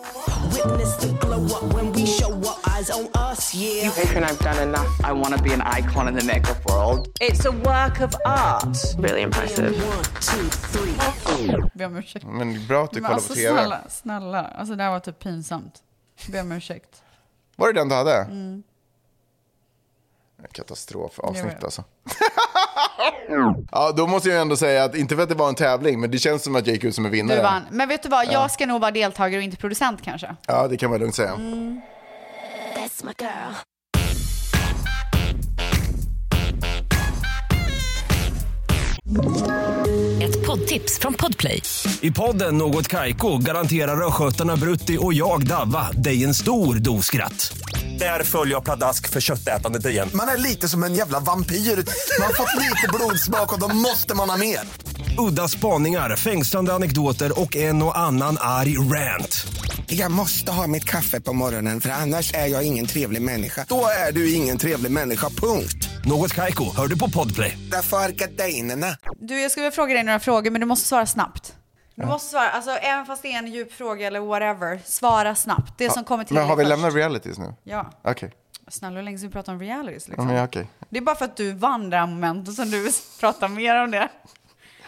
Speaker 8: Witness the glow up when we show up, eyes on us, yeah.
Speaker 9: think I've done enough. I want to be an icon in the makeup world.
Speaker 10: It's a work of art. Really impressive.
Speaker 8: One, two, three.
Speaker 2: Be om ursäkt.
Speaker 1: Men bra att du
Speaker 2: Men
Speaker 1: kollar
Speaker 2: alltså
Speaker 1: Mm, på TV.
Speaker 2: snälla, snälla. Alltså det här var typ pinsamt. Be om ursäkt.
Speaker 1: Var det den du hade?
Speaker 2: Mm.
Speaker 1: Katastrofavsnitt
Speaker 2: Jag vet.
Speaker 1: alltså. ja, då måste jag ändå säga att, inte för att det var en tävling, men det känns som att jag gick ut som en vinnare.
Speaker 2: Du vann. Men vet du vad, jag ska nog vara deltagare och inte producent kanske.
Speaker 1: Ja, det kan man lugnt säga.
Speaker 2: Mm,
Speaker 10: That's my girl.
Speaker 4: Ett poddtips från Podplay.
Speaker 5: I podden Något Kaiko garanterar östgötarna Brutti och jag, Davva, dig en stor dos skratt. Där följer jag pladask för köttätandet igen.
Speaker 6: Man är lite som en jävla vampyr. Man har fått lite blodsmak och då måste man ha mer.
Speaker 5: Udda spaningar, fängslande anekdoter och en och annan arg rant.
Speaker 6: Jag måste ha mitt kaffe på morgonen för annars är jag ingen trevlig människa. Då är du ingen trevlig människa, punkt.
Speaker 5: Något Kaiko, hör du på Podplay.
Speaker 6: Därför är gardinerna.
Speaker 2: Du, jag skulle vilja fråga dig några frågor, men du måste svara snabbt. Du måste svara, alltså även fast det är en djup fråga eller whatever, svara snabbt. Det som kommer till
Speaker 1: Men har vi
Speaker 2: dig först.
Speaker 1: lämnat realities nu?
Speaker 2: Ja.
Speaker 1: Okej.
Speaker 2: Snälla, hur länge ska vi prata om realities
Speaker 1: Ja,
Speaker 2: liksom?
Speaker 1: men ja, okej.
Speaker 2: Det är bara för att du vann det här momentet som du vill prata mer om det.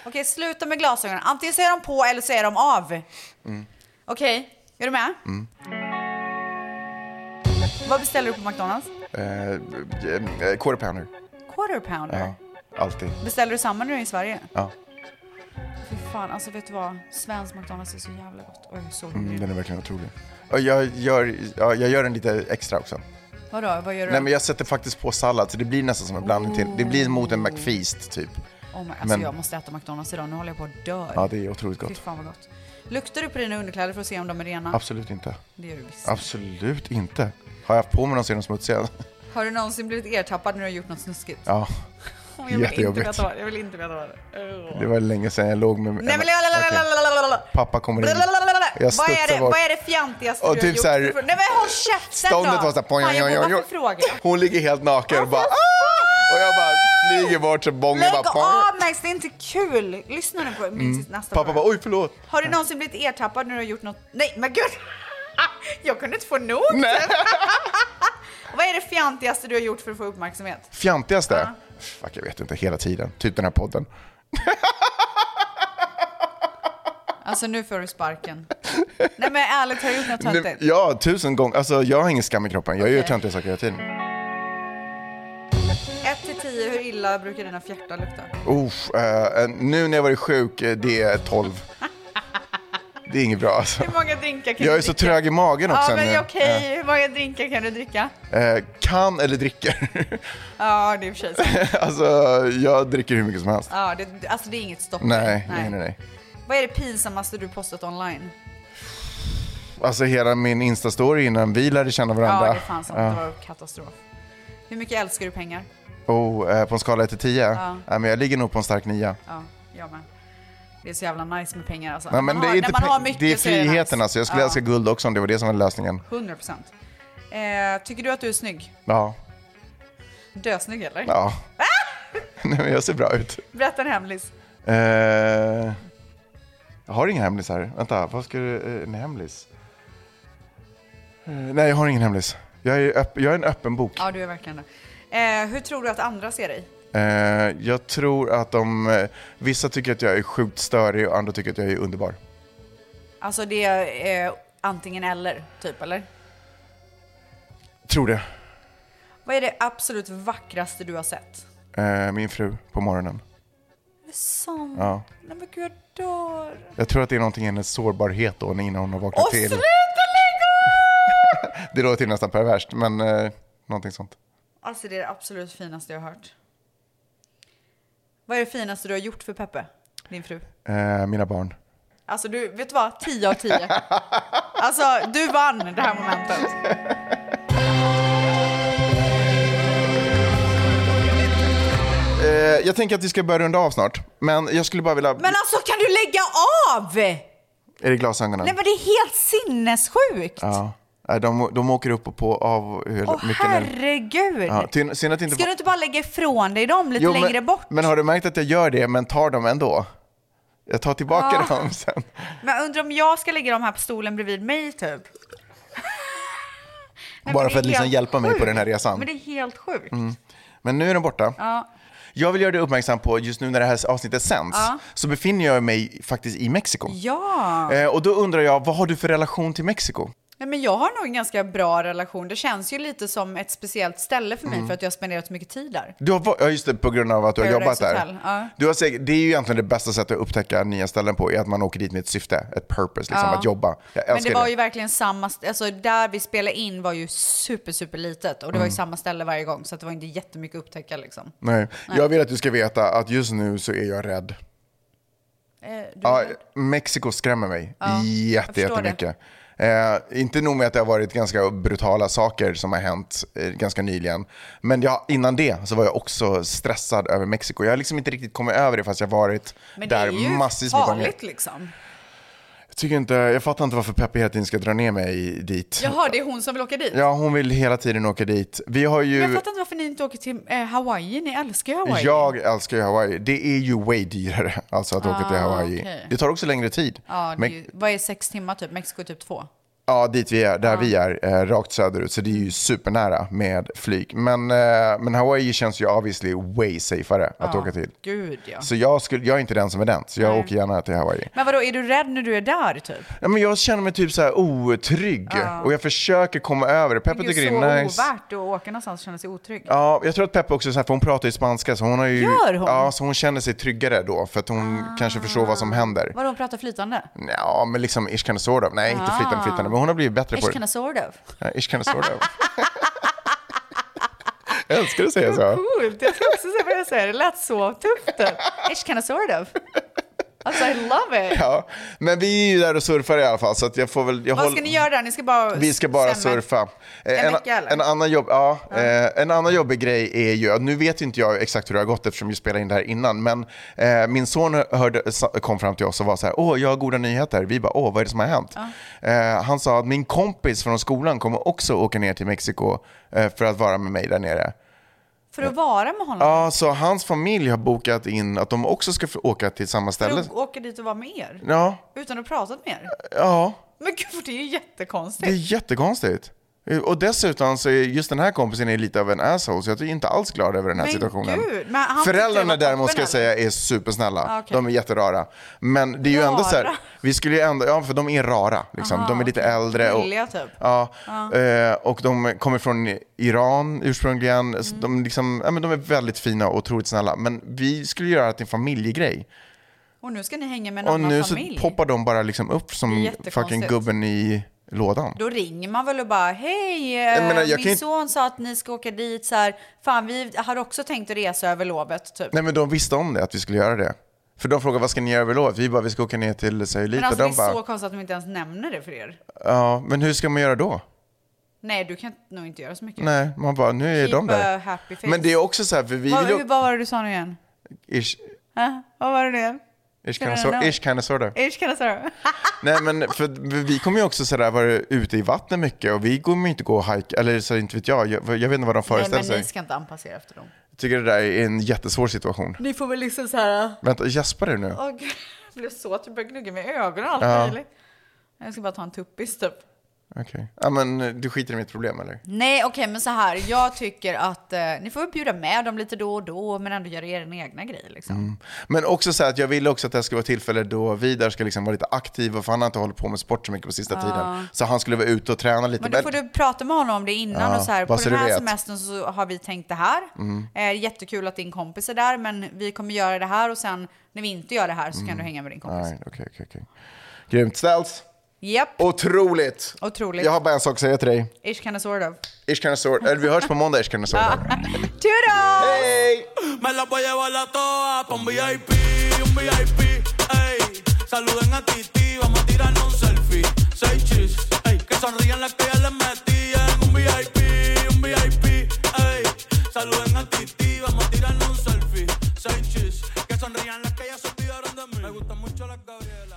Speaker 2: Okej, sluta med glasögonen. Antingen så är de på eller så är de av.
Speaker 1: Mm.
Speaker 2: Okej, är du med? Vad beställer du på McDonalds?
Speaker 1: Eh, eh, quarter pounder.
Speaker 2: Quarter pounder.
Speaker 1: Ja, alltid.
Speaker 2: Beställer du samma nu i Sverige?
Speaker 1: Ja.
Speaker 2: Fy fan, alltså vet du vad? Svensk McDonalds är så jävla gott. Oj, jag är så hungrig.
Speaker 1: Mm, Den är verkligen otrolig. Och jag gör, ja, jag gör den lite extra också.
Speaker 2: Vadå, vad gör du?
Speaker 1: Nej men jag sätter faktiskt på sallad så det blir nästan som en blandning till. Det blir mot en McFeast typ.
Speaker 2: Oh my, alltså
Speaker 1: Men-
Speaker 2: jag måste äta McDonalds idag, nu håller jag på att dö.
Speaker 1: Ja, det är otroligt
Speaker 2: Fy
Speaker 1: gott.
Speaker 2: fan vad gott. Luktar du på dina underkläder för att se om de är rena?
Speaker 1: Absolut inte.
Speaker 2: Det gör du visst.
Speaker 1: Absolut inte. Har jag haft på mig dem så är de smutsiga.
Speaker 2: Har du någonsin blivit ertappad när du har gjort något snuskigt?
Speaker 1: Ja,
Speaker 2: Jag vill inte
Speaker 1: jättejobbigt.
Speaker 2: veta vad det- Jag vill inte veta vad det är.
Speaker 1: Det var länge sedan jag låg med...
Speaker 2: Nej, men...
Speaker 1: Okej. Pappa kommer in. Jag
Speaker 2: Vad är, det,
Speaker 1: studsar bort.
Speaker 2: vad är det fjantigaste
Speaker 1: Och
Speaker 2: du
Speaker 1: typ
Speaker 2: har gjort?
Speaker 1: så här-
Speaker 2: Nej men håll käften
Speaker 1: Ståndet
Speaker 2: då!
Speaker 1: var så här, poj,
Speaker 2: Fan, jag
Speaker 1: oj, oj,
Speaker 2: vågar
Speaker 1: oj.
Speaker 2: inte fråga.
Speaker 1: Hon ligger helt naken och bara... "Ah!" Och jag bara flyger bort så bongen
Speaker 2: Alltså, Lägg
Speaker 1: bara... pang.
Speaker 2: av Max, det är inte kul! Lyssna nu på min
Speaker 1: Mm.
Speaker 2: nästa
Speaker 1: Pappa
Speaker 2: fråga.
Speaker 1: bara, oj förlåt.
Speaker 2: Har du någonsin blivit ertappad när du har gjort något? Nej men gud! Jag kunde inte få nog! Vad är det fjantigaste du har gjort för att få uppmärksamhet?
Speaker 1: Fjantigaste? Fuck, jag vet inte. Hela tiden. Typ den här podden.
Speaker 2: Alltså nu får du sparken. Nej men ärligt, har du gjort något
Speaker 1: Nej,
Speaker 2: töntigt?
Speaker 1: ja, tusen gånger. Alltså, jag har ingen skam i kroppen. Jag gör
Speaker 2: Okej.
Speaker 1: töntiga saker hela tiden.
Speaker 2: 1 till 10, hur illa brukar dina fjärtar lukta?
Speaker 1: Uff, eh, nu när jag varit sjuk, eh, det är 12. Det är inget bra alltså.
Speaker 2: Hur många drinkar kan
Speaker 1: Jag
Speaker 2: du
Speaker 1: är så
Speaker 2: dricka?
Speaker 1: trög i magen också
Speaker 2: Ja
Speaker 1: nu.
Speaker 2: men okej, hur många drinkar kan du dricka?
Speaker 1: Eh, kan eller dricker.
Speaker 2: Ja det är i och för sig sant.
Speaker 1: alltså, jag dricker hur mycket som helst.
Speaker 2: Ja, det, alltså det är inget stopp.
Speaker 1: Nej, nej, nej. nej.
Speaker 2: Vad är det pinsammaste du postat online?
Speaker 1: Alltså hela min Insta-story innan vi lärde känna varandra.
Speaker 2: Ja det fanns sant,
Speaker 1: Ja.
Speaker 2: det var katastrof. Hur mycket älskar du pengar?
Speaker 1: Oh, eh, på en skala 1 till 10?
Speaker 2: Ja.
Speaker 1: Nej, men jag ligger nog på en stark 9.
Speaker 2: Ja, jag med. Det är så jävla nice med pengar alltså.
Speaker 1: Nej,
Speaker 2: När
Speaker 1: men
Speaker 2: man
Speaker 1: det,
Speaker 2: har,
Speaker 1: är inte
Speaker 2: när man
Speaker 1: pe-
Speaker 2: har mycket
Speaker 1: det är
Speaker 2: så nice.
Speaker 1: friheten alltså. Jag skulle
Speaker 2: ja,
Speaker 1: älska guld också om det var det som var lösningen.
Speaker 2: 100 procent. Eh, tycker du att du är snygg?
Speaker 1: Ja.
Speaker 2: Dösnygg eller?
Speaker 1: Ja. Nej, men jag ser bra ut.
Speaker 2: Berätta en hemlis.
Speaker 1: Eh, jag har ingen hemlis här. Vänta, vad ska du... eh, En hemlis? Eh, nej, jag har ingen hemlis. Jag är, öpp, jag är en öppen bok.
Speaker 2: Ja, du är verkligen det. Eh, hur tror du att andra ser dig?
Speaker 1: Eh, jag tror att de... eh, vissa tycker att jag är sjukt störig och andra tycker att jag är underbar.
Speaker 2: Alltså det är eh, antingen eller, typ eller?
Speaker 1: Tror det.
Speaker 2: Vad är det absolut vackraste du har sett?
Speaker 1: Eh, min fru på morgonen.
Speaker 2: Är det sant?
Speaker 1: Ja.
Speaker 2: Nej men gud, jag dör.
Speaker 1: Jag tror att det är någonting i hennes sårbarhet då när- innan hon har vaknat
Speaker 2: Åh,
Speaker 1: till.
Speaker 2: sluta lägga av!
Speaker 1: Det låter ju nästan perverst, men eh, någonting sånt.
Speaker 2: Alltså det är det absolut finaste jag har hört. Vad är det finaste du har gjort för Peppe, din fru?
Speaker 1: Eh, mina barn.
Speaker 2: Alltså du, vet du vad? 10 av 10. Alltså du vann det här momentet.
Speaker 1: Eh, jag tänker att vi ska börja runda av snart, men jag skulle bara vilja...
Speaker 2: Men alltså kan du lägga av?
Speaker 1: Är det glasögonen?
Speaker 2: Nej men det är helt sinnessjukt.
Speaker 1: Ja. Nej, De, de åker upp och på av hur
Speaker 2: Åh
Speaker 1: mycket nu.
Speaker 2: herregud.
Speaker 1: Ja, ty- synd att inte
Speaker 2: Ska du inte bara lägga ifrån dig dem lite
Speaker 1: Jo, men,
Speaker 2: längre bort?
Speaker 1: Men har du märkt att jag gör det, men tar dem ändå? Jag tar tillbaka
Speaker 2: Ja.
Speaker 1: dem sen.
Speaker 2: Men jag undrar om jag ska lägga dem här på stolen bredvid mig typ? men
Speaker 1: Bara
Speaker 2: det
Speaker 1: för
Speaker 2: är
Speaker 1: att liksom
Speaker 2: helt
Speaker 1: hjälpa mig på
Speaker 2: sjukt.
Speaker 1: den här resan.
Speaker 2: Men det är helt sjukt.
Speaker 1: Mm. Men nu är de borta.
Speaker 2: Ja.
Speaker 1: Jag vill göra dig uppmärksam på, just nu när det här avsnittet sänds,
Speaker 2: Ja.
Speaker 1: så befinner jag mig faktiskt i Mexiko.
Speaker 2: Ja.
Speaker 1: Eh, och då undrar jag, vad har du för relation till Mexiko?
Speaker 2: Nej, men jag har nog en ganska bra relation. Det känns ju lite som ett speciellt ställe för mig
Speaker 1: Mm.
Speaker 2: för att jag har spenderat så mycket tid där.
Speaker 1: Du har, va- ja, just det, på grund av att du har
Speaker 2: Paradise
Speaker 1: jobbat
Speaker 2: Hotel,
Speaker 1: där.
Speaker 2: ja.
Speaker 1: Du har säkert, det är ju egentligen det bästa sättet att upptäcka nya ställen på, är att man åker dit med ett syfte, ett purpose, liksom,
Speaker 2: Ja.
Speaker 1: att jobba. Jag
Speaker 2: Men
Speaker 1: älskar
Speaker 2: det var ju verkligen samma, st- alltså där vi spelade in var ju super, super litet och det var ju
Speaker 1: Mm.
Speaker 2: samma ställe varje gång så att det var inte jättemycket att upptäcka liksom.
Speaker 1: Nej.
Speaker 2: Nej.
Speaker 1: Jag vill att du ska veta att just nu så är jag rädd.
Speaker 2: Eh, du-
Speaker 1: Ja, Mexiko skrämmer mig
Speaker 2: Ja,
Speaker 1: jätte,
Speaker 2: jag förstår
Speaker 1: jättemycket. Eh, inte nog med att det har varit ganska brutala saker som har hänt eh, ganska nyligen. Men jag, innan det så var jag också stressad över Mexiko. Jag har liksom inte riktigt kommit över det fast jag har varit
Speaker 2: men det är
Speaker 1: där
Speaker 2: ju
Speaker 1: massvis med gånger.
Speaker 2: farligt liksom.
Speaker 1: Jag, tycker inte, jag fattar inte varför Peppe hela tiden ska dra ner mig dit.
Speaker 2: Jaha, det är hon som vill åka dit?
Speaker 1: Ja, hon vill hela tiden åka dit. Vi har
Speaker 2: Men jag
Speaker 1: ju...
Speaker 2: fattar inte varför ni inte åker till eh, Hawaii, ni älskar ju Hawaii.
Speaker 1: Jag älskar ju Hawaii. Det är ju way dyrare alltså att åka till
Speaker 2: Ah,
Speaker 1: Hawaii.
Speaker 2: okej.
Speaker 1: Det tar också längre tid.
Speaker 2: Ja, det är
Speaker 1: Men-
Speaker 2: ju, vad är sex timmar typ? Mexiko är typ två.
Speaker 1: Ja, dit vi är, där vi är, eh, rakt söderut. Så det är ju supernära med flyg. Men, eh, men Hawaii känns ju obviously way safare att
Speaker 2: Ja,
Speaker 1: åka till.
Speaker 2: Gud ja.
Speaker 1: Så jag, skulle, jag är inte den som är den, så jag
Speaker 2: Nej.
Speaker 1: åker gärna till Hawaii.
Speaker 2: Men vadå, är du rädd när du är där typ?
Speaker 1: Ja, men jag känner mig typ så här otrygg
Speaker 2: Ja.
Speaker 1: och jag försöker komma över det. Peppe
Speaker 2: Gud,
Speaker 1: tycker det
Speaker 2: så
Speaker 1: är nice.
Speaker 2: ovärt att åka någonstans och känna sig otrygg.
Speaker 1: Ja, jag tror att Peppe också, är så här, för hon pratar ju spanska så hon har ju...
Speaker 2: Gör hon? Ah.
Speaker 1: Ja, så hon känner sig tryggare då för att hon kanske förstår vad som händer.
Speaker 2: Vadå, prata flytande?
Speaker 1: Ja, men liksom ish kind of sort of. Nej, inte flytande
Speaker 2: Ah.
Speaker 1: flytande, men hon har blivit bättre
Speaker 2: Ish
Speaker 1: på det.
Speaker 2: kinda sort of.
Speaker 1: Ja, ish kind of sort of. Jag älskar att säga så.
Speaker 2: Coolt, jag ska också säga vad jag säger. Det lät så tufft. It's kind of sort of. Alltså I love it.
Speaker 1: Ja, men vi är ju där och surfar i alla fall. Så att jag får väl, jag
Speaker 2: Vad
Speaker 1: håll-
Speaker 2: ska ni göra där? Ni ska bara...
Speaker 1: Vi ska bara
Speaker 2: stämma.
Speaker 1: surfa. Eh,
Speaker 2: En
Speaker 1: En,
Speaker 2: vecka, eller?
Speaker 1: en, annan jobb, ja, eh, en annan jobbig grej är ju, nu vet ju inte jag exakt hur det har gått eftersom vi spelade in det här innan, men eh, min son hörde, sa- kom fram till oss och var så här, åh, jag har goda nyheter. Vi bara, åh, vad är det som har hänt? Eh, han sa att min kompis från skolan kommer också åka ner till Mexiko eh, för att vara med mig där nere.
Speaker 2: För att vara med honom?
Speaker 1: Ja, så hans familj har bokat in att de också ska få åka till samma
Speaker 2: För
Speaker 1: ställe.
Speaker 2: att åka dit och vara med er?
Speaker 1: Ja,
Speaker 2: Utan att prata med er?
Speaker 1: ja.
Speaker 2: Men gud, det är ju jättekonstigt.
Speaker 1: Det är jättekonstigt. Och dessutom så är just den här kompisen är lite av en asshole så jag är inte alls glad över den här
Speaker 2: Men
Speaker 1: situationen.
Speaker 2: gud, men han tyckte det
Speaker 1: Föräldrarna
Speaker 2: var
Speaker 1: däremot ska
Speaker 2: toppen,
Speaker 1: jag säga är supersnälla.
Speaker 2: Ah, okej.
Speaker 1: De är jätterara. Men det är ju ändå så här,
Speaker 2: Rara?
Speaker 1: vi skulle ju ändå, ja för de är rara liksom. de är lite äldre. Och,
Speaker 2: Billiga typ.
Speaker 1: ja, eh, och de kommer från Iran ursprungligen. Så
Speaker 2: Mm.
Speaker 1: De, liksom, ja, men de är väldigt fina och otroligt snälla. Men vi skulle göra det till en familjegrej.
Speaker 2: Och nu ska ni hänga med en
Speaker 1: Och
Speaker 2: annan
Speaker 1: nu
Speaker 2: familj.
Speaker 1: så poppar de bara liksom upp
Speaker 2: Det är
Speaker 1: som fucking
Speaker 2: jättekonstigt.
Speaker 1: gubben i lådan.
Speaker 2: Då ringer man väl och bara hej,
Speaker 1: Jag menar,
Speaker 2: eh,
Speaker 1: jag kan
Speaker 2: min
Speaker 1: inte-
Speaker 2: son sa att ni ska åka dit så här. Fan, vi har också tänkt att resa över lovet typ.
Speaker 1: Nej men de visste om det, att vi skulle göra det. För de frågade vad ska ni göra över lovet? Vi bara vi ska åka ner till
Speaker 2: Men
Speaker 1: Sayulita.
Speaker 2: alltså det
Speaker 1: de bara,
Speaker 2: är så konstigt att de inte ens nämner det för er.
Speaker 1: ja men hur ska man göra då?
Speaker 2: Nej, du kan nog inte göra så mycket.
Speaker 1: Nej, man bara nu är
Speaker 2: Keep
Speaker 1: de
Speaker 2: a
Speaker 1: där.
Speaker 2: happy face.
Speaker 1: Men det är också så här för vi
Speaker 2: vad,
Speaker 1: vill
Speaker 2: hur,
Speaker 1: ju...
Speaker 2: vad var det du sa nu igen?
Speaker 1: Ish,
Speaker 2: Äh, vad var det nu igen?
Speaker 1: ish
Speaker 2: Ska
Speaker 1: kind of
Speaker 2: den
Speaker 1: sort,
Speaker 2: ha-
Speaker 1: ish kind of sort of.
Speaker 2: Ish kan jag säga det?
Speaker 1: Nej men för vi kommer ju också sådär vara ute i vattnet mycket och vi kommer ju inte gå och hajka, eller så inte vet jag, jag, jag vet inte vad de
Speaker 2: Nej,
Speaker 1: föreställer
Speaker 2: men
Speaker 1: sig.
Speaker 2: ni ska inte anpassa er efter dem.
Speaker 1: Jag tycker det där är en jättesvår situation.
Speaker 2: Ni får väl liksom så här...
Speaker 1: Vänta, gäspar du nu?
Speaker 2: Åh gud, jag blev så att jag började gnugga mig i ögonen och allt
Speaker 1: Ja.
Speaker 2: möjligt. Jag ska bara ta en tuppis typ.
Speaker 1: Okej. Ja men du skiter i mitt problem eller?
Speaker 2: Nej, okej, men så här. Jag tycker att eh, ni får väl bjuda med dem lite då och då, men ändå göra er egna grejer liksom.
Speaker 1: Men också så här att jag ville också att det här skulle vara tillfälle då Vidar ska liksom vara lite aktiv, och för han har inte hållit på med sport så mycket på sista tiden. Så han skulle vara ute och träna lite.
Speaker 2: Men då får du prata med honom om det innan
Speaker 1: Ja,
Speaker 2: och så här. På
Speaker 1: bara så
Speaker 2: den
Speaker 1: du
Speaker 2: här
Speaker 1: vet. Mm.
Speaker 2: semestern så har vi tänkt det här. Eh, jättekul att din kompis är där, men vi kommer göra det här och sen när vi inte gör det här så
Speaker 1: Mm.
Speaker 2: kan du hänga med din kompis.
Speaker 1: Nej, okej, okej, okej. Grymt. Ställs.
Speaker 2: Japp,
Speaker 1: Otroligt.
Speaker 2: otroligt.
Speaker 1: Jag har bara en sak att säga till dig.
Speaker 2: Ish kind of sort of.
Speaker 1: Ish kind of sort. Eller vi hörs på måndag, ish kind of sort.
Speaker 2: Toodles!
Speaker 1: Hej!
Speaker 11: Me la voy a llevar la toa pa' un VIP, un VIP, ey. Saluden a Titi, vamos a tirarnos un selfie. Seis chis, ey. Que sonrían las que ya les metían. Un VIP, un VIP, ey. Saluden a Titi, vamos a tirarnos un selfie. Seis chis, que sonrían las que ya se olvidaron de mí. Me gustan mucho las Gabriela.